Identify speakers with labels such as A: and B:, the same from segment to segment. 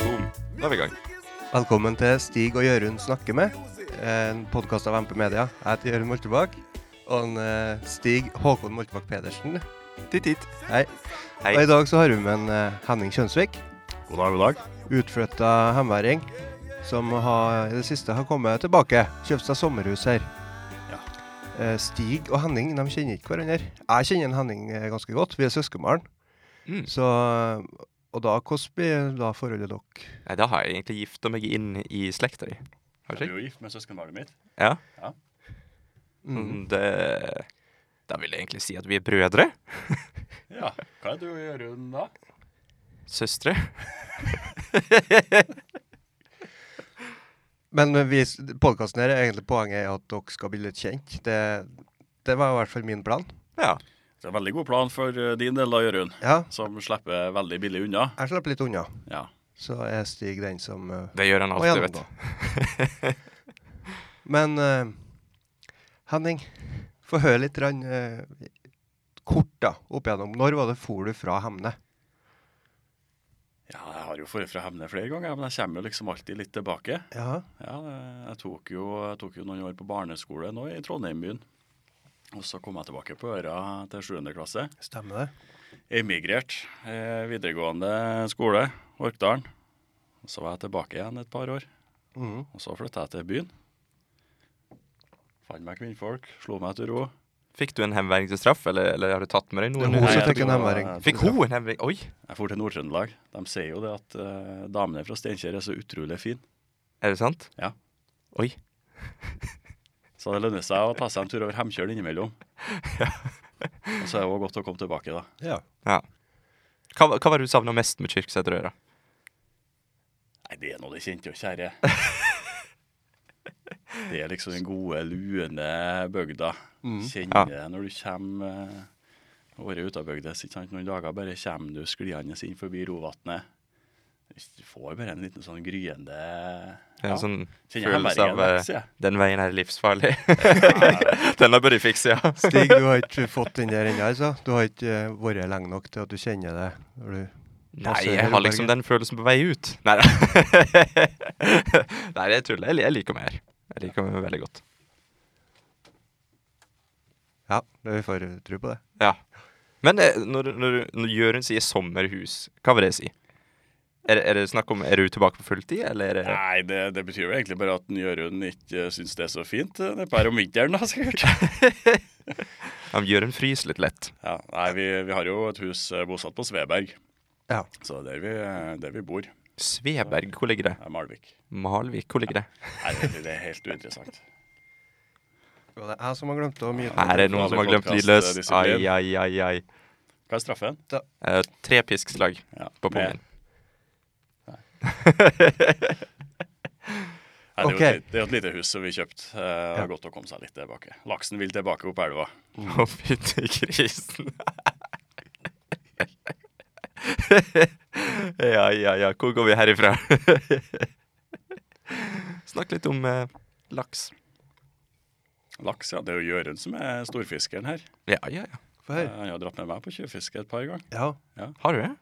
A: Da er vi i gang.
B: Velkommen til Stig og Jørund snakker med, en podkast av MP Media. Jeg heter Jørund Moltebakk, og en, eh, Stig Håkon Moltebakk Pedersen.
A: Titt, titt.
B: Hei.
A: Hei.
B: Og i dag så har vi med en eh, Henning Kjønsvik,
C: God dag, god dag.
B: utflytta hemværing, som har, i det siste har kommet tilbake. Kjøpt seg sommerhus her. Eh, Stig og Henning de kjenner ikke hverandre. Jeg kjenner en Henning eh, ganske godt, vi er søskenbarn.
A: Mm.
B: Så, og da, hvordan blir da forholdet dere?
A: Nei, da har jeg egentlig gifta meg inn i slekta di. Har jeg
C: Jeg er
A: ikke?
C: jo gift med søskenbarnet mitt.
A: Ja.
B: Mm.
A: Mm, Det Da vil jeg egentlig si at vi er brødre.
C: Ja, Hva er du og Jørund da?
A: Søstre.
B: Men vi, podkasten her, er egentlig poenget er at dere skal bli litt kjent. Det, det var i hvert fall min plan.
A: Ja.
C: Det er en veldig god plan for eh, din del da, Jørund,
B: Ja,
C: som slipper veldig billig unna.
B: jeg slapp litt unna.
C: Ja.
B: Så er Stig den som eh,
A: Det gjør han
B: må
A: alltid, vet
B: gjennomgå. Men eh, Henning, få høre litt rann, eh, kort da, opp igjennom. Når var det for du fra Hemne?
C: ja, jeg har jo forrige fra Hemne flere ganger, men jeg kommer jo liksom alltid litt tilbake.
B: Ja,
C: Ja, det- jeg tok, jo, jeg tok jo noen år på barneskole nå i Trondheim byen. Og så kom jeg tilbake på øra til 7. klasse.
B: stemmer det.
C: Emigrert eh, videregående skole, Orkdalen. Og Så var jeg tilbake igjen et par år.
B: Mhm.
C: Og så flytta jeg til byen. Fant meg kvinnfolk, slo meg til ro.
A: Fikk du en hemværing til straff, eller, eller har du tatt med deg
B: Det er
A: noen?
B: hun
C: Nei,
B: som
C: jeg
B: fikk en
C: tror-
B: hemværing.
A: Fikk hun en hemværing? Oi!
C: Jeg dro til Nord-Trøndelag. De sier jo det at eh, damene fra Steinkjer er så utrolig fine.
A: Er det sant?
C: Ja.
A: Oi.
C: Så det lønner seg å ta seg en tur over Hemkjøl innimellom. Og så er det også godt å komme tilbake, da.
B: Ja.
A: Ja. Hva, hva var det du savna mest med Kirkseterøra?
C: Nei, det er nå det kjente og kjære. Det er liksom den gode, luende bygda.
B: Mm.
A: Ja.
C: Kjenner det når du kommer eh, året ute av bygda. ikke sant? Noen dager bare kommer du skliende inn forbi Rovatnet. Du får bare en liten sånn gryende
A: Ja. Sånn
C: Kjenner jeg
A: følelse av
C: hemmeringen,
A: eh,
C: sier jeg.
A: den veien er livsfarlig. den har bør jeg fikse, ja.
B: Stig, du har ikke fått den der ennå, altså? Du har ikke eh, vært lenge nok til at du kjenner det? Når du
A: Nei,
B: passerer
A: jeg har liksom den
B: Bergen?
A: følelsen på vei ut. Nei da. Nei, jeg tuller. Jeg, li- jeg liker meg her. Jeg liker meg veldig godt.
B: Ja, det vi får eh, tro på det.
A: Ja. Men eh, når, du- når, du- når Jørund sier sommerhus, hva vil det si? Er, det- er det snakk om Er du tilbake på fulltid, eller er det
C: Nei, det, det betyr jo egentlig bare at en Jørund ikke eh, syns det er så fint eh, nedpå her om vinteren, da, sikkert.
A: ja, men Jørund fryser litt lett.
C: Ja, nei, vi, vi har jo et hus eh, bosatt på Sveberg,
B: Ja.
C: så det er der vi, eh, der vi bor. Det
A: Sveberg, hvor ligger det?
C: er Malvik.
A: Malvik, hvor ligger det?
C: Nei, det, det er helt uinteressant.
B: Det var det jeg som har glemt å myte
A: Er det noen som har glemt lydløs? Ai, ai, ai, ai.
C: Hva er straffen?
A: Eh, tre piskslag
C: Ja,
A: på
C: med-
A: pungen.
C: Nei, det, er jo
B: Ok.
C: et, lit- det er jo et lite hus som vi kjøpte. Eh, Det er godt å komme seg litt tilbake. Laksen vil tilbake opp elva.
A: Å, fytti grisen. ja, ja, ja. Hvor går vi herifra? Snakk litt om eh, laks.
C: Laks, ja. Det er jo Jørund som er storfiskeren her.
A: Ja, ja, ja.
B: Få
C: Eh,
B: høre.
C: Han har dratt med meg på tjuvfiske et par ganger.
B: Ja.
A: Har du det?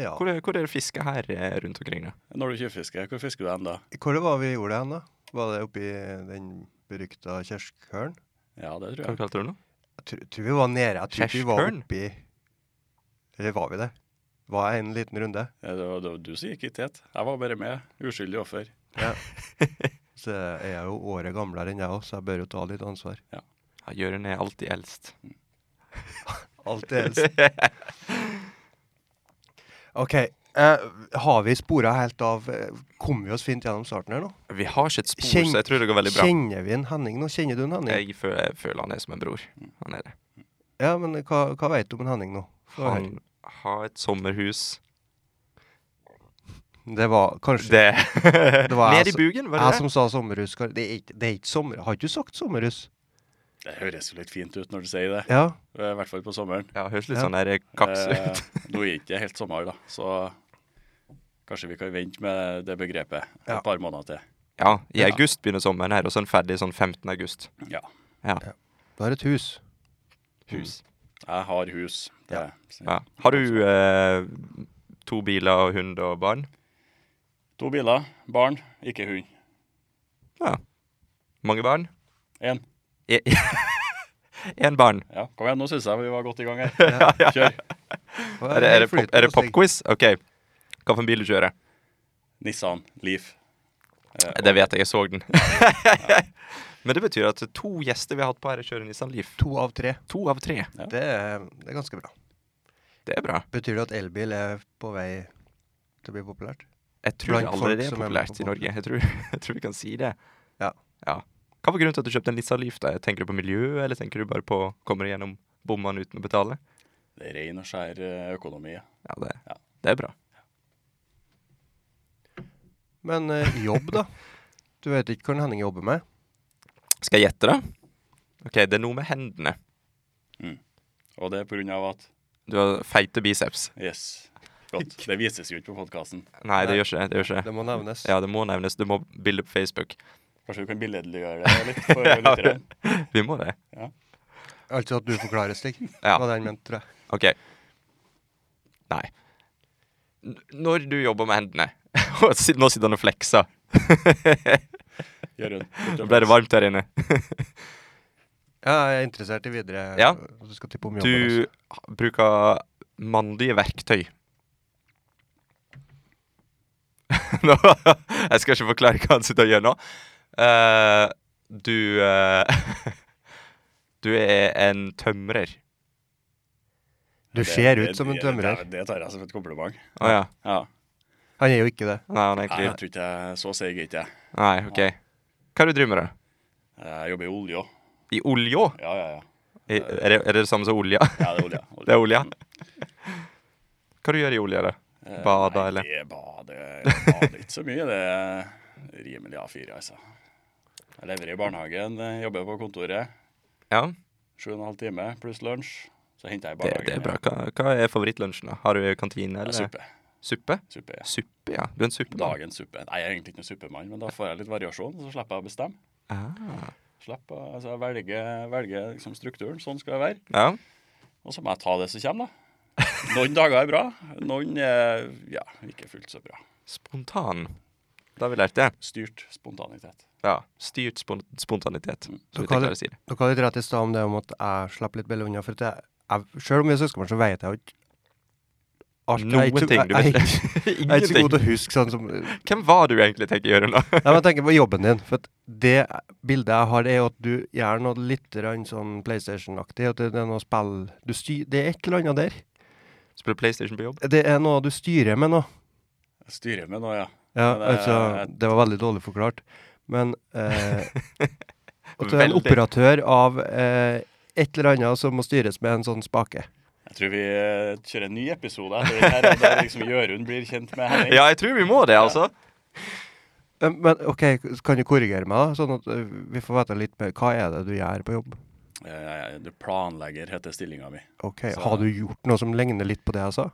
B: ja.
A: Hvor, er- hvor er det fiske her eh, rundt omkring? da?
C: Når du tjuvfisker, hvor fisker du hen da?
B: Hvor det var vi gjorde det hen, da? Var det oppi den berykta Kjerkhølen?
C: Ja, det tror
A: Hva
C: jeg.
A: kalte du det? nå?
B: Jeg tror, tror vi var nede. Jeg tror ikke vi var
A: Kjerkhølen?
B: oppi Eller var vi det? Var jeg en liten runde?
C: Ja, Eh, Det var, det var du som gikk i tet. Jeg var bare med. Uskyldig offer.
B: Så er jeg jo året gamlere enn jeg òg, så jeg bør jo ta litt ansvar.
A: Ja, Jørund er alltid eldst.
B: Alt det helst. OK. Eh, har vi spora helt av eh, Kom vi oss fint gjennom starten her nå?
A: Vi har ikke et spor,
B: Kjenn-
A: så jeg tror det går veldig bra.
B: Kjenner vi en Henning nå? Kjenner du en Henning?
A: Jeg føler, jeg føler han er som en bror.
B: Mm.
A: Han er det.
B: Ja, men hva, hva veit du om en Henning nå? Få høre.
A: Han har et sommerhus.
B: Det var kanskje
A: Det,
B: Det var jeg
A: Ned i
B: som-
A: bugen, var
B: jeg
A: det det?
B: som sa sommerhus. Kar- Det er ikke, det er ikke sommer... Har ikke du sagt sommerhus?
C: Det høres jo litt fint ut når du sier det.
B: Ja.
C: I hvert fall på sommeren.
A: Ja, høres litt
B: Ja.
A: sånn der kaps
C: Eh,
A: ut.
C: Nå er det ikke helt sommer, da, så kanskje vi kan vente med det begrepet
B: Ja.
C: et par måneder til.
A: Ja, i
C: Ja.
A: august begynner sommeren her, og så er den ferdig sånn 15. august.
C: Ja.
A: Ja.
B: Du har et hus.
A: Hus.
C: Jeg har hus. Det,
B: Ja.
A: Ja. Har du eh, to biler og hund og barn?
C: To biler, barn, ikke hund.
A: Mange barn?
C: Én.
A: Én barn.
C: Ja, kom igjen, nå syns jeg vi var godt i gang her.
A: Ja, ja.
C: Kjør.
B: Og
A: Er det, er det,
B: helt
A: pop, er det
B: flytende hos deg.
A: popquiz? OK. Hvilken bil du kjører?
C: Nissan Leaf. Eh,
A: Det vet jeg, jeg så den. Men det betyr at to gjester vi har hatt på her, kjører Nissan Leaf.
B: To av tre.
A: To av tre.
C: Ja.
B: Det er, det er ganske bra.
A: Det er bra.
B: Betyr det at elbil er på vei til å bli populært?
A: Jeg tror det
B: Blant folk
A: allerede er
B: som er med
A: populært
B: på
A: i Norge. Jeg tror, jeg tror vi kan si det.
B: Ja.
A: Hva var grunnen til at du kjøpte en Nissan Leaf? da? Tenker du på miljø, eller tenker du bare på kommer du gjennom bommene uten å betale?
C: Det er ren og skjær eh, økonomi. ja.
A: Ja, det,
C: Ja.
A: det er bra.
B: Men eh, jobb, da? Du vet ikke hva Henning jobber med?
A: Skal jeg gjette, da? OK, det er noe med hendene.
C: Og det er på grunn av at
A: Du har feite biceps.
C: Yes. Godt. Det vises jo ikke på podkasten.
A: Nei, det
B: Nei.
A: gjør ikke det. det, gjør ikke det.
B: Det må nevnes.
A: Ja, det må nevnes. Du må bilde på Facebook.
C: Kanskje du kan billedliggjøre det litt for
A: Ja.
C: lytterne?
A: Vi må det.
B: Altså at du forklarer, Stig.
A: Ja.
B: Hva det han mente, tror jeg.
A: OK. Nei. N når du jobber med hendene Og si- Nå sitter han og flekser.
C: Gjør en-
A: Nå ble det varmt her inne.
B: Ja, jeg er interessert i videre
A: Ja.
B: og Du skal tippe om jobben. altså.
A: Du
B: også.
A: bruker mandige verktøy. nå, jeg skal ikke forklare hva han sitter og gjør nå. Eh, du eh, Du er en tømrer.
B: Du
C: Det-
B: ser
C: det-
B: ut som en
C: det-
B: tømrer.
C: Det, det tar jeg som et kompliment.
A: Å ja.
C: Ja.
B: Han er jo ikke det.
A: Nei, han er
C: Nei, jeg
A: egentlig
C: tror ikke jeg så seig er ikke jeg.
A: Nei, OK. Hva er det du driver med, da?
C: Jeg jobber i olje òg.
A: I olja?
C: Ja, ja, ja.
A: I-
C: Eh.
A: Er det, er det det samme som olja?
C: ja. Det er olje. olje.
A: Det er olja? Hva du gjør du i olja, da?
C: Eh,
A: Bada,
C: nei,
A: eller?
C: det Bade Bade ikke så mye. Det er rimelig A4, altså. Jeg lever i barnehagen, eh, jobber på kontoret.
A: Ja,
C: Sju og en halv time pluss lunsj. Så henter jeg i
A: det,
C: barnehagen.
A: det er bra. Hva, hva er favorittlunsjen, da? Har du kantine,
C: Ja,
A: eller?
C: suppe.
A: Suppe?
C: suppe ja.
A: Suppe, ja. Du er en suppemann.
C: Dagens suppe. Nei, jeg er egentlig ikke noen suppemann, men da får jeg litt variasjon, så slipper jeg å bestemme.
A: Ah.
C: Slipper, å- altså, jeg velger, velger liksom strukturen. Sånn skal det være.
A: Ja.
C: Og så må jeg ta det som kommer, da. Noen dager er bra, noen er ja, ikke fullt så bra.
A: Spontan. Da har vi lært det.
C: Styrt spontanitet.
A: Ja. Styrt spon spontanitet.
C: Mm.
A: Så
B: Så
A: vi
B: hva
A: tenker
B: er det-
A: å si det.
B: Dere hadde litt rett i stad om det om at jeg slapp litt bedre unna. For at jeg, jeg, selv om vi er søskenbarn, så vet jeg jo ikke alt. Jeg er ikke
A: Noen
B: så-
A: ting du
B: jeg-
A: vet.
B: jeg- Jeg er ikke så god
A: Ingenting.
B: til å huske sånn som Nei,
A: Hvem var du egentlig tenker å gjøre nå?
B: men jeg tenker på jobben din. For at det bildet jeg har, det er jo at du gjør noe litt grann sånn PlayStation-aktig. At det er noe spill du styr, Det er et eller annet der.
A: Spiller PlayStation på jobb?
B: Det er noe du styrer med nå.
C: Jeg styrer med noe, ja.
B: Ja,
C: Men det-
B: altså Det var veldig dårlig forklart. Men eh, At du er en
A: Veldig.
B: operatør av eh, et eller annet som må styres med en sånn spake.
C: Jeg tror vi eh, kjører en ny episode etter den her, der liksom Jørund blir kjent med Henning.
A: Ja, jeg tror vi må det, altså.
B: Eh, Men OK, kan du korrigere meg, da? Sånn at eh, vi får vite litt mer. Hva er det du gjør på jobb?
C: Eh, Du planlegger heter stillinga mi.
B: Ok,
C: Så-
B: Har du gjort noe som ligner litt på det jeg sa?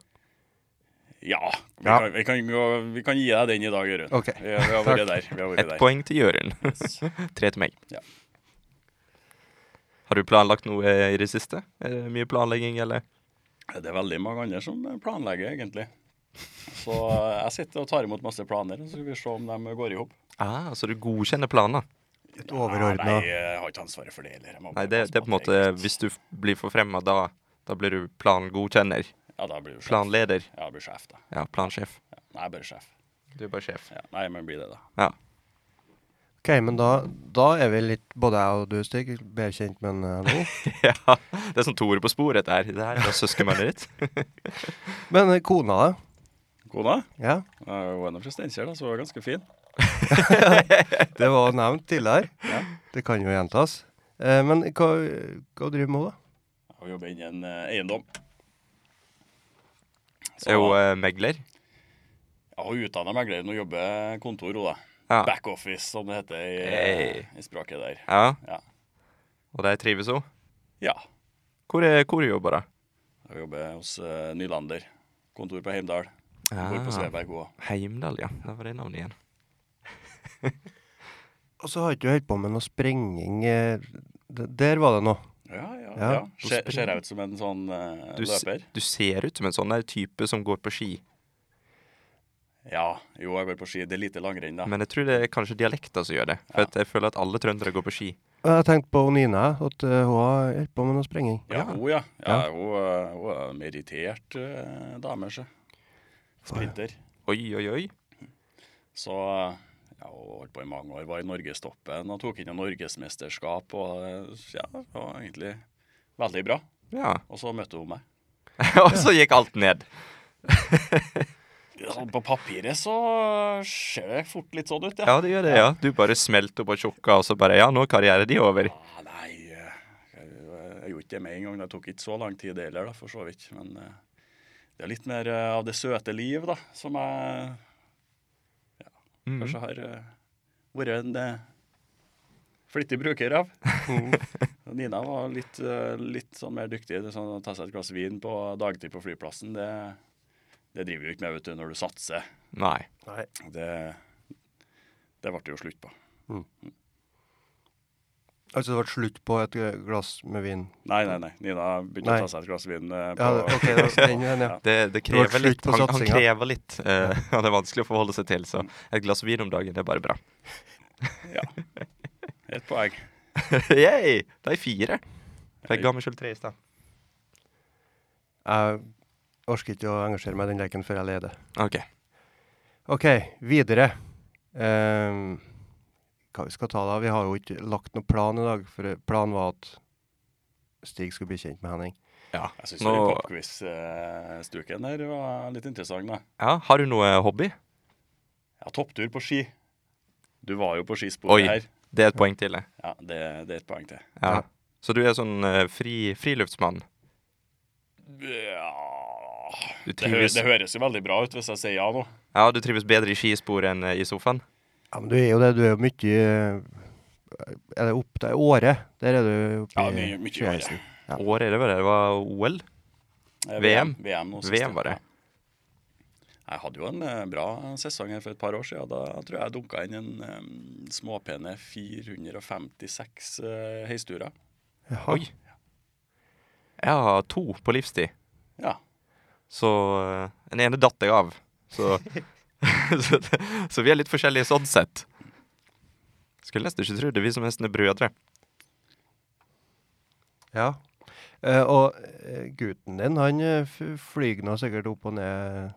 C: Ja. Vi,
B: Ja.
C: Kan, vi, kan, gå- vi kan gi deg den i dag, Jørund.
B: Ok.
C: Vi, vi har
B: Takk.
C: vært der. Vi har
A: Et
C: vært der.
A: poeng til Jørund.
C: Yes.
A: Tre til meg.
C: Ja.
A: Har du planlagt noe eh, i det siste? Er det mye planlegging, eller?
C: Det er veldig mange andre som planlegger, egentlig. Så eh, jeg sitter og tar imot masse planer, så skal vi se om de går i hop.
A: Ah, så du godkjenner planer?
B: Et
C: Ja,
B: overordna
C: Nei, jeg har ikke ansvaret for det heller. Jeg må
A: Nei,
C: bare
A: det,
C: passe
A: det er på en
C: at
A: måte
C: jeg ikke-
A: Hvis du f- blir forfremma, da, da blir du plangodkjenner.
C: Ja, da blir du sjef.
A: Planleder.
C: Ja, jeg blir sjef, da.
A: Ja, plansjef.
C: Ja. Nei, jeg er bare sjef.
A: Du er bare sjef.
C: Ja. Nei, men blir det, da.
A: Ja.
B: Ok, men da, da er vi litt, både jeg og du, Stig, bedre kjent med en, eh, nå.
A: ja. Det er som Tore på sporet, dette her. Det her er søskenbarnet ditt.
B: Men eh, kona, da?
C: Kona?
B: Ja,
C: eh, Hun er nå fra Steinkjer, da, så hun er ganske fin.
B: det var nevnt tidligere.
C: Ja.
B: Det kan jo gjentas. Eh, men hva, hva driver hun med, da?
C: Hun jobber innen eh, eiendom. Så,
A: Er jo eh, megler.
C: ja, hun er utdanna megler, nå jobber kontor, hun, da.
A: Ja.
C: Backoffice, som det heter i, eh,
A: Hey.
C: i språket der.
A: ja.
C: Ja.
A: Og de trives hun.
C: ja.
A: Hvor, er- hvor jobber hun?
C: Hun jobber hos eh, Nylander. Kontor på Heimdal. Hun Bor på
A: Ah,
C: Sveberg, hun òg.
A: Heimdal, ja. Det var det navnet igjen.
B: Og så har ikke du holdt på med noe sprenging eh, d- Der var det noe.
C: Ja, ja,
B: Ja,
C: ja.
A: hun
C: Ser,
A: springer.
C: ser jeg ut som en sånn eh,
A: Du, s-
C: løper?
A: du ser ut som en sånn der type som går på ski.
C: Ja, jo, jeg går på ski. Det er lite langrenn, da.
A: Men jeg tror det er kanskje dialekter som gjør det. For
C: Ja.
A: at jeg føler at alle trøndere går på ski.
B: Jeg har tenkt på Nina, at eh, hun har holdt på med noe sprenging.
C: ja,
A: ja.
C: hun, ja. ja, Hun, eh, hun er en meritert eh, dame, sjø. Sprinter.
A: Oi, oi, oi.
C: Så ja, hun holdt på i mange år, var i norgestoppen og tok inn noen norgesmesterskap. Og eh, ja, det var egentlig veldig bra.
A: Ja.
C: Og så møtte hun meg.
A: Og så gikk alt ned.
C: Ja, På papiret så ser det fort litt sånn ut, ja.
A: Ja, det gjør det, ja. Du bare smelter på tjukka, og så bare Ja, nå er karrieren din over.
C: Ah, nei, eh, jeg, jeg gjorde ikke det med en gang. Det tok ikke så lang tid det heller, da, for så vidt. Men eh, det er litt mer eh, av det søte liv, da, som jeg
A: Mm.
C: kanskje har eh, vært en eh, flittig bruker av. Nina var litt, eh, litt sånn mer dyktig. Det er sånn, å ta seg et glass vin på dagtid på flyplassen, det, det driver du ikke med vet du, når du satser.
A: Nei.
B: Nei.
C: Det, det ble det jo slutt på.
B: Altså det ble slutt på et eh, glass med vin?
C: Nei, nei, nei. Nina begynte
B: Nei.
C: å ta seg et glass vin. eh,
B: Ja, det- ok, det var den veien, ja.
A: Det, det
B: var
A: krever
B: slutt
A: litt.
B: på
A: Han, han
B: satsinga.
A: krever litt. eh, han er vanskelig å forholde seg til, så
C: Mm.
A: et glass vin om dagen det er bare bra.
C: Ja. Et poeng.
A: Yay! De er fire. Jeg ga meg sjøl tre i stad.
B: Jeg orker ikke å engasjere meg i den leken før jeg leder.
A: OK.
B: OK, videre. Ehm, hva vi skal ta da? Vi har jo ikke lagt noen plan i dag, for planen var at Stig skulle bli kjent med Henning.
A: Ja.
C: Jeg syns
A: Nå,
C: popquiz-stuken eh, der var litt interessant, da.
A: ja, har du noe hobby?
C: Ja, topptur på ski. Du var jo på
A: Oi.
C: skisporet her.
A: Det er et poeng til. det.
C: Ja, det, det er et poeng til.
A: Ja.
B: Ja.
A: Så du er sånn eh, fri, friluftsmann?
C: Ja
A: Du
C: det, hø
A: trives,
C: det høres jo veldig bra ut hvis jeg sier ja nå.
A: ja, du trives bedre i skisporet enn eh, i sofaen?
B: Ja, men du er jo det. Du er jo mye eh, Er det opp til året? Der er du oppe
C: Ja,
B: i
C: mye- mye
B: tjueheisen.
C: året.
B: Ja.
A: Året er det vel? Det var OL?
C: Eh,
A: VM?
C: VM, nå sist,
A: VM var det.
C: Ja. Jeg hadde jo en eh, bra sesong her for et par år siden. Da tror jeg jeg dunka inn en em, småpene 456 eh, heisturer.
B: Jaha.
A: Oi. Jeg har to på livstid.
C: Ja.
A: Så eh, den ene datt jeg av. Så, så, det- så vi er litt forskjellige sånn sett. Skulle nesten ikke tro det, vi som nesten er brødre.
B: Ja. Eh, og eh, gutten din, han eh, f- flyr nå sikkert opp og ned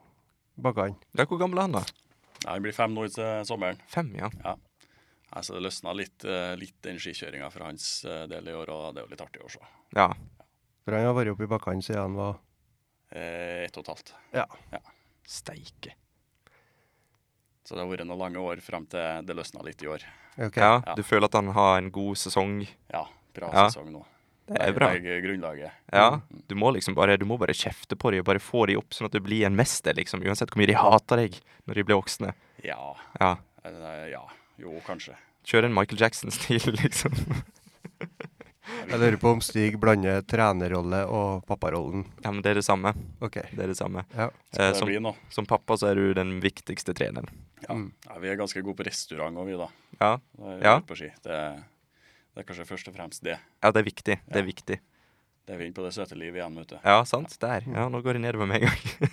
B: bakkene.
A: Ja, hvor gammel er han, da?
C: Ja, Det blir fem nå til sommeren.
A: Fem, ja.
C: Nei, så det løsna litt, eh, litt den skikjøringa for hans eh, del i år, og det er jo litt artig å se.
A: ja.
B: For han har vært oppe i bakkene siden han var
C: Eh, Ett og et halvt.
B: Ja.
A: Steike.
C: Så det har vært noen lange år fram til det løsna litt i år.
B: OK.
A: Ja,
C: Ja.
A: du føler at han har en god sesong?
C: Ja, bra
A: Ja.
C: sesong nå.
A: Det er bra.
C: Legger grunnlaget. Mm.
A: Ja, du må liksom bare Du må bare kjefte på dem og bare få dem opp, sånn at du blir en mester, liksom. Uansett hvor mye de hater deg når de blir voksne.
C: Ja.
A: Ja.
C: eh, ja. Jo, kanskje.
A: Kjøre en Michael Jackson-stil, liksom.
B: Jeg lurer på om Stig blander trenerrolle og papparollen.
A: Ja, men det er det samme.
B: OK.
A: Det er det samme.
B: Ja.
A: Eh,
C: Skal det
A: som,
C: bli nå.
A: som pappa så er du den viktigste treneren.
C: Ja. ja, Vi er ganske gode på restaurant òg, vi, da.
A: Ja.
C: da er vi
A: Mm. Ja.
C: ute På ski. Det, det er kanskje først og fremst det.
A: ja, det er viktig. Det er viktig.
C: Det er vi inne på det søte livet igjen, vet du.
A: Ja, sant. Der. Ja, nå går det nedover med en gang.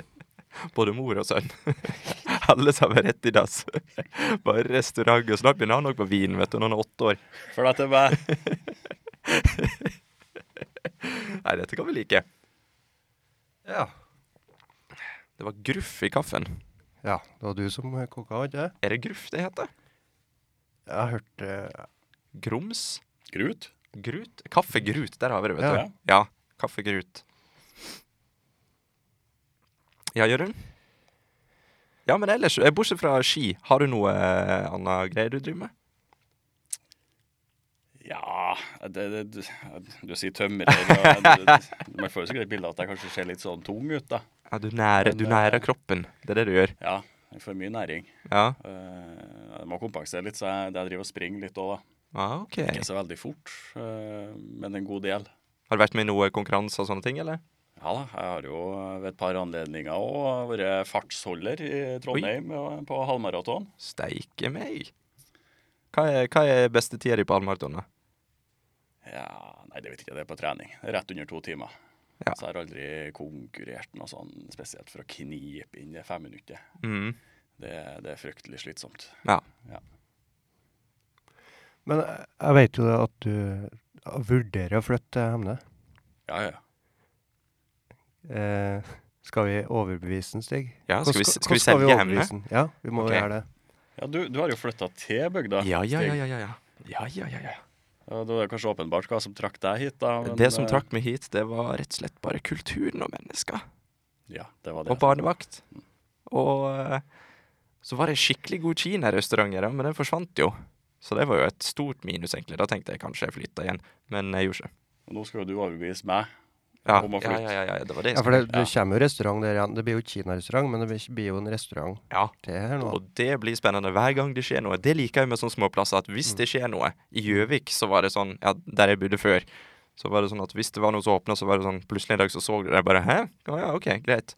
A: Både mor og sønn. Alle sammen rett i dass. Bare restaurant. Og snart begynner han nok på vin, vet du, når han er åtte år.
C: Følg deg til meg.
A: Nei, dette kan vi like.
B: Ja.
A: Det var gruff i kaffen.
B: ja. Det var du som eh, koka, var ikke det?
A: Er det gruff det heter?
B: Jeg hørte eh,
A: Grums?
C: Grut.
A: Grut? Kaffegrut, der har vi det, vet
B: Ja.
A: du. Ja. Kaffegrut. Ja, Jørund? Ja, men ellers, eh, bortsett fra ski, har du noe eh, annet greier du driver med?
C: Ja det, det, du, du sier tømrer og det, det, Man får jo sikkert et bilde av at jeg kanskje ser litt sånn tung ut, da.
A: Ja, du nærer, du
C: Men, eh,
A: nærer kroppen. Det er det du gjør.
C: Ja, jeg får mye næring.
A: Ja.
C: Eh, Jeg må kompensere litt, så jeg, jeg driver og springer litt òg, da.
A: Ah, ok.
C: Ikke så veldig fort, eh, men en god del.
A: Har du vært med i noe konkurranse og sånne ting, eller?
C: Ja da, jeg har jo ved et par anledninger òg vært fartsholder i Trondheim og på halvmaraton.
A: Steike meg. Hva er, hva er beste tida di på halvmaraton? da?
C: Ja, nei, det vet jeg ikke, det er på trening. Rett under to timer.
A: Ja.
C: Så jeg har aldri konkurrert noe sånn spesielt for å knipe inn det femminuttet.
A: Mm.
C: Det, det er fryktelig slitsomt.
A: Ja.
B: Men jeg- jeg vet jo det at du vurderer å flytte til Hemne.
C: Ja, ja.
B: Eh, skal vi overbevise den, Stig?
A: ja skal, vi, skal
B: Hvordan-
A: vi
B: hvordan skal
A: selge Hemne?
B: overbevise den? Ja, vi må
A: Ok.
B: gjøre det.
C: ja du, du har jo flytta til bygda.
A: Ja, ja, ja,
C: Stig.
A: ja, ja. ja. Ja, ja, ja, ja.
C: Og Det er kanskje åpenbart hva som trakk deg hit, da. men,
A: Det som
C: eh,
A: trakk meg hit, det var rett og slett bare kulturen og mennesker.
C: Ja, det var det.
A: Og barnevakt. Og eh, så var det en skikkelig god kinarestaurant her, men den forsvant jo. Så det var jo et stort minus, egentlig. Da tenkte jeg kanskje jeg flytta igjen, men jeg gjorde ikke.
C: Og nå skal jo du overbevise meg.
A: Ja,
C: Om å
A: ja,
C: flytte.
A: ja, ja, ja, det var det.
B: Ja,
A: jeg
B: for det, det
C: Ja.
B: kommer jo restaurant der igjen. Det blir jo ikke kinarestaurant, men det blir- blir jo en restaurant
A: skulle- ja.
B: til her nå.
A: Og det blir spennende hver gang det skjer noe. Det liker jeg med sånne småplasser, at
B: Mm.
A: hvis det skjer noe I Gjøvik så var det sånn, ja, der jeg bodde før, så var det sånn at hvis det var noe som åpna, så var det sånn Plutselig en dag så så du det, jeg bare Hæ? Å ja, OK, greit.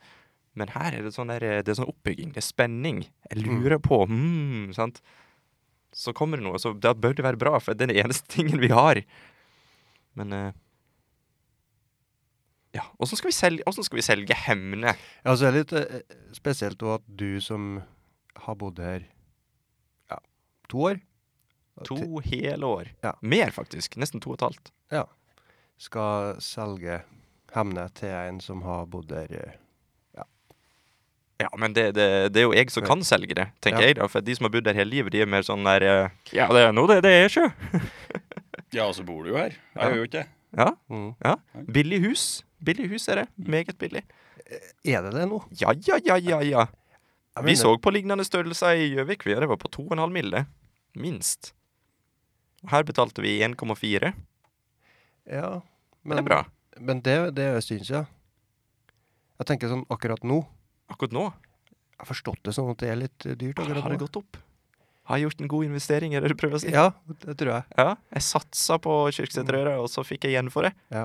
A: Men her er det sånn der, det er sånn oppbygging, det er spenning. Jeg
B: Mm.
A: lurer på hmm, sant? Så kommer det noe, så da bør det være bra, for det er den eneste tingen vi har. Men eh, Ja, åssen skal, vi selge- hvordan skal vi selge Hemne?
B: Ja, så er det litt eh, spesielt også at du som har bodd her ja, to år,
A: To hele år.
B: Ja.
A: Mer, faktisk. Nesten to og et halvt.
B: skal selge Hemne til en som har bodd her eh,
A: Ja, men det, det, det er jo jeg som kan selge det, tenker
B: Ja.
A: jeg da. For de som har bodd der hele livet, de er mer sånn der eh, Ja, det er nå det, det er sjø.
C: Ja, og så bor du jo her. Jeg
A: Ja.
C: gjør jo ikke det.
A: Ja,
B: mm.
A: ja. Billig hus. Billig hus er det. Meget billig.
B: Er det det nå?
A: Ja, ja, ja, ja, ja.
B: Jeg
A: Vi
B: mener-
A: så på lignende størrelser i Gjøvik. Vi- Det var på 2,5 mille. Minst. Og her betalte vi 1,4.
B: Ja,
A: Men
B: men
A: det er bra.
B: Men det, det er en stund siden. Jeg tenker sånn akkurat nå.
A: Akkurat nå
B: Jeg har forstått det sånn at det er litt eh, dyrt akkurat
A: har det
B: nå.
A: gått opp. Har jeg gjort en god investering, er det du prøver å si?
B: Ja, det tror jeg.
A: Ja, jeg satsa på Kyrksæterøra, og så fikk jeg igjen for det.
B: Mm. Ja.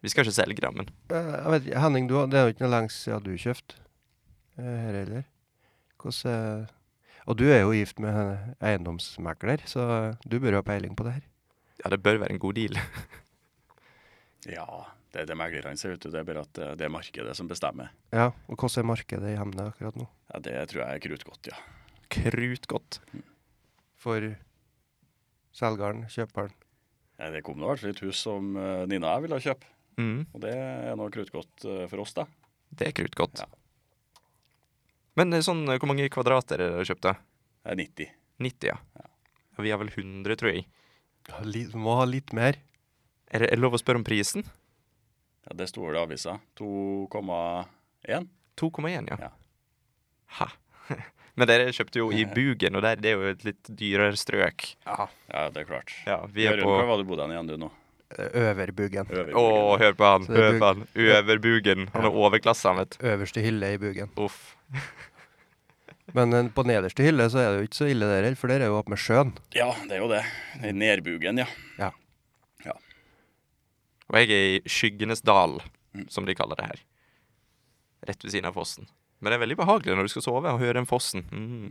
A: Vi skal ikke selge det, men
B: Eh, jeg vet, ikke, Henning, du, har- det er jo ikke noe lenge siden du kjøpte eh, her heller. Hvordan eh, Og du er jo gift med en eiendomsmegler, så eh, du bør jo ha peiling på det her.
A: ja, det bør være en god deal.
C: Ja, det er det meglerne sier, vet du. Det er bare at eh, det er markedet som bestemmer.
B: Ja, og hvordan er markedet i Hemne akkurat nå?
C: Ja, det tror jeg er kruttgodt, ja.
A: Krutgodt.
B: For selgeren, kjøperen.
C: Ja, Det kom nå i hvert fall et hus som eh, Nina og jeg ville kjøpe,
A: Mm,
C: og det er nå kruttgodt eh, for oss, da.
A: det er krutgodt.
C: Ja.
A: Men eh, sånn, eh, hvor mange kvadrater er det dere kjøpte?
C: Det er 90.
A: 90, ja. ja. Vi har vel 100, tror jeg.
B: Ja, litt- må ha litt mer.
A: Er det er det lov å spørre om prisen?
C: Ja, det sto vel i avisa. 2,1.
A: 2,1, ja.
C: Ja.
A: Ha. Men dere kjøpte jo i Bugen, og der, det er jo et litt dyrere strøk.
C: Ja, det er klart.
A: Ja, vi er
C: Jørund,
A: på...
C: hvor var du bodde hen igjen du nå?
B: Eh, Øverbugen.
C: Øver-
A: Å, hør på han,
B: Så det er
A: hør på han. Over Bugen. Han er overklasse, han vet.
B: Øverste hylle i Bugen.
A: Uff.
B: Men eh, på nederste hylle så er det jo ikke så ille der heller, for der er jo oppe med sjøen.
C: Ja, det er jo det. I Nerbugen, ja.
A: Og jeg er i Skyggenes dal, som de kaller det her. Rett ved siden av fossen. Men det er veldig behagelig når du skal sove og høre den fossen. Mm.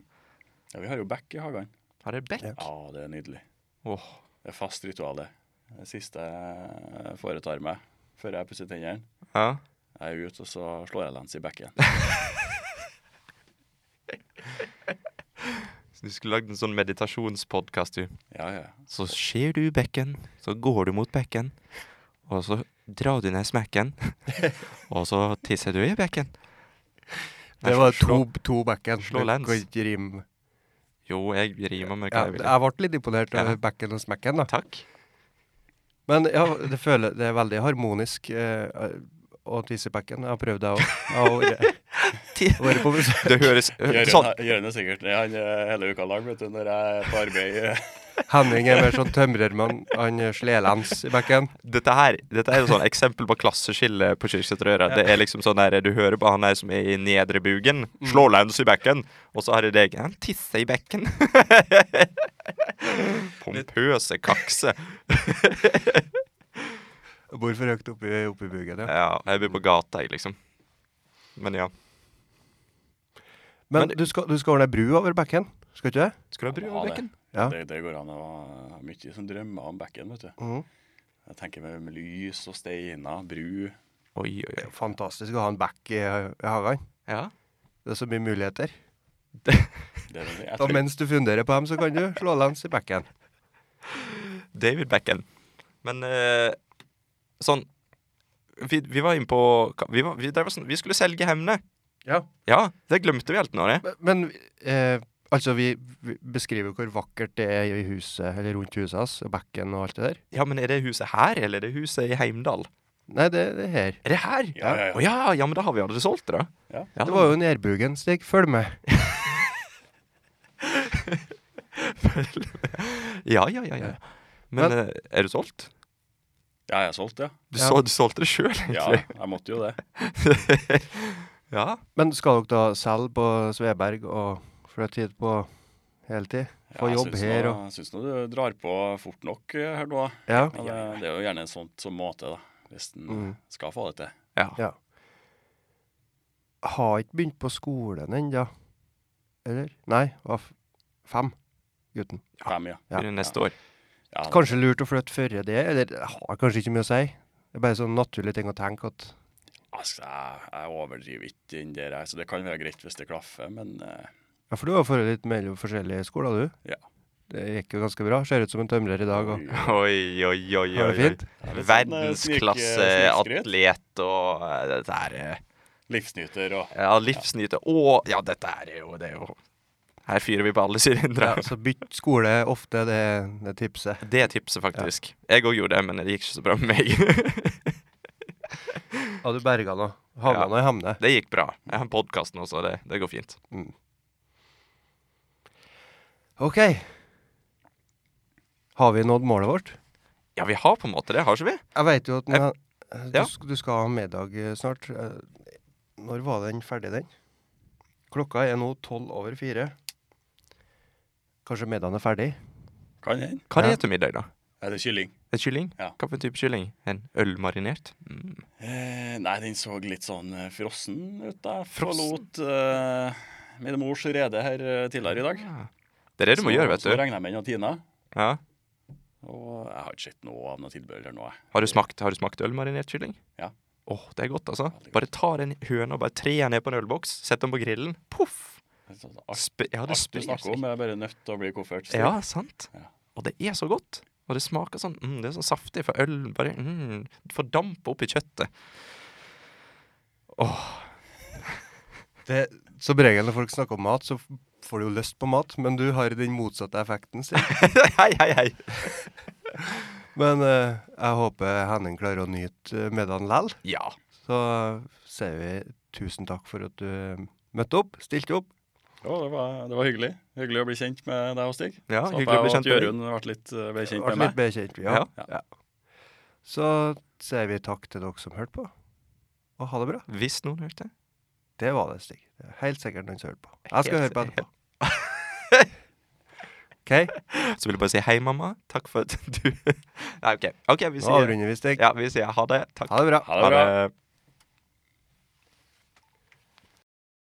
C: ja. Vi har jo bekk i hagen.
A: Her er det bekk.
C: Ja, det er nydelig.
A: Åh,
C: Det er fast ritual, det. Det siste jeg foretar meg før jeg pusser tennene.
A: ja.
C: Jeg er ute, og så slår jeg lens i bekken.
A: Så Du skulle lagd en sånn meditasjonspodkast, du.
C: Ja, ja.
A: Så ser du bekken, så går du mot bekken, og så drar du ned smekken, og så tisser du i bekken. Nei,
B: Det var
A: slå-
B: to, to backen.
A: slå
B: Det
A: lens.
B: kan ikke rime.
A: Jo, jeg rimer med
B: Ja,
A: hva jeg vil.
B: jeg ble litt imponert over
A: Ja.
B: backen og smekken, da.
A: Takk.
B: Men ja, det, føler, det er veldig harmonisk eh, å tisse i backen. Jeg har prøvd det òg. Jeg har vært- vært på besøk.
A: Det høres sånn.
C: Jørund Jørund er sikkert det han eh, hele uka lang, vet du, når jeg er på arbeid. eh,
B: Henning er mer sånn tømrermann. Han slår lens i bekken.
A: Dette her dette er jo sånn eksempel på klasseskille på Kirkeseterøra. Det er liksom sånn der, Du hører på han der som er i nedre bugen. Slå lens i bekken. Og så har de deg. Han tisser i bekken. Pompøse kakse.
B: Bor for høyt oppi, oppi bugen, ja.
A: Ja, jeg bor på gata, jeg, liksom. Men ja.
B: Men
A: Men-
B: du skal, du skal ordne bru over bekken, skal ikke det?
A: Skal du ha bru
C: Ja,
A: over
C: det.
A: bekken?
B: Ja.
C: Det, det går an å ha mye som drømmer om bekken, vet du.
B: Mhm.
C: Jeg tenker med, med lys og steiner, bru.
A: Oi, oi,
B: Det er
A: oi.
B: jo fantastisk å ha en back i, i hagen.
A: Ja.
B: Det er så mye muligheter.
C: Det er det. Jeg
B: Da
C: tror,
B: mens du funderer på dem, så kan du slå lens i bekken.
A: David Beckham. Men eh, sånn vi, vi var inne på vi, var, vi, drev og sånn, vi skulle selge hemne.
B: Ja.
A: Ja, det glemte vi helt nå, det.
B: Men eh, altså, vi, vi beskriver hvor vakkert det er i huset, eller rundt huset hans, og bekken og alt det der.
A: Ja, men er det huset her, eller er det huset i Heimdal?
B: Nei, det, det er her.
A: Er det her?
C: ja, ja,
A: Å
C: ja.
A: ja, ja, men da har vi allerede solgt det, da.
C: Ja.
B: Det var jo nærbugen, Stig. Følg med.
A: Ja, ja, ja. ja. Men, eh, er du solgt?
C: ja, jeg solgte, ja.
A: Du,
B: Ja.
A: så, du solgte det sjøl,
C: Ja,
A: egentlig.
C: jeg måtte jo det.
A: Ja.
B: Men skal dere da selge på Sveberg og flytte hit på heltid?
C: Ja,
B: Få
C: jeg
B: jobb
C: syns
B: her
C: nå-
B: og
C: Jeg syns nå du drar på fort nok eh, her nå.
B: Ja.
C: Men, eh, det er jo gjerne en sånt som må til, da. Hvis en
B: Mm.
C: skal få det til.
A: ja.
B: Ja. Har ikke begynt på skolen ennå. Eller? Nei, var f- fem, gutten.
C: Fem, ja.
B: Ja.
A: Blir det neste år.
C: ja altså, da.
B: Kanskje lurt å flytte før det, eller det har kanskje ikke mye å si. Det er bare sånn naturlig ting å tenke at
C: Altså, jeg, jeg overdriver ikke den der, jeg, så det kan være greit hvis det klaffer, men eh,
B: Ja, for du har forholdet litt mellom forskjellige skoler, du.
C: Ja.
B: Det gikk jo ganske bra. Ser ut som en tømrer i dag og
C: oi,
A: Oi, oi, oi. oi,
B: har det
A: oi.
B: fint.
C: det er litt sånn, eh, snik- snikskryt.
A: Verdensklasse-atlet og eh, dette her eh,
C: Livsnyter og
A: Ja, livsnyte og Ja, dette her er jo Det er jo Her fyrer vi på alle
B: Ja,
A: sylindere.
B: så bytt skole ofte, det det er tipset.
A: Det er tipset, faktisk. Jeg òg gjorde det, men det gikk ikke så bra med meg.
B: Ja, du berga nå. Havna
A: Ja.
B: nå i Hemne.
A: det gikk bra. Jeg har podkasten også, det, det går fint.
B: OK. Har vi nådd målet vårt?
A: Ja, vi har på en måte det, har ikke vi?
B: Jeg veit jo at den,
A: ja.
B: du, sk- du skal ha middag eh, snart. Eh, Når var den ferdig, den? Klokka er nå tolv over fire. Kanskje middagen er ferdig?
C: Kan hende.
A: Hva er
B: Ja.
A: det til middag, da?
C: Er det kylling?
A: Et kylling?
C: Ja.
A: Hva for en type kylling? En ølmarinert? Mm.
C: Eh, nei, den så litt sånn eh, frossen ut da. Jeg
A: Frossen?
C: Forlot eh, min mors rede her eh, tidligere i dag.
A: Ja. Det er det du må
C: Så-
A: gjøre, vet
C: Så
A: du.
C: regner jeg med den og Tina.
A: Ja.
C: Og jeg har ikke sett noe av noe tilbehør eller noe.
A: Har du smakt, har du smakt ølmarinert kylling?
C: Ja.
A: Åh, det er godt, altså.
C: Veldig godt.
A: Bare ta den høna og bare tre den ned på en ølboks, sett den på grillen. Poff!
C: Så det er Alt,
A: Sp ja, det
C: alt du
A: spyr
C: snakker om,
A: seg.
C: er bare nødt til å bli koffert.
A: Ja, sant?
C: Ja.
A: Og det er så godt. Og det smaker sånn mm, Det er sånn saftig, for øl bare mm, fordamper oppi kjøttet. Åh,
B: Det, som regel når folk snakker om mat, så f- får du jo lyst på mat, men du har den motsatte effekten. Stig.
A: hei, hei, hei!
B: Men eh, jeg håper Henning klarer å nyte eh, middagen lell.
A: Ja.
B: Så eh, sier vi tusen takk for at du eh, møtte opp, stilte opp.
C: Jo, det var, det var hyggelig. Hyggelig å bli kjent med deg og Stig.
A: ja
C: Så
A: hyggelig å bli kjent
C: med
A: med
C: deg.
A: deg.
C: ble litt, eh, ble kjent
B: Ble
C: med
B: litt
C: meg.
B: bekjent, ja.
A: Ja.
B: ja. Så sier vi takk til dere som hørte på, og ha det bra.
A: Hvis noen hørte.
B: Det var det, Stig. Det er helt sikkert noen som hørte på. Jeg skal
A: Helt-
B: høre på etterpå. OK,
A: Så vil jeg bare si hei, mamma. Takk for at du Nei, OK. Ok, Vi
B: nå
A: sier,
B: avrunder vi, Stig.
A: ja, vi sier ha det. Takk.
B: Ha det bra.
C: Ha det bra.
A: det.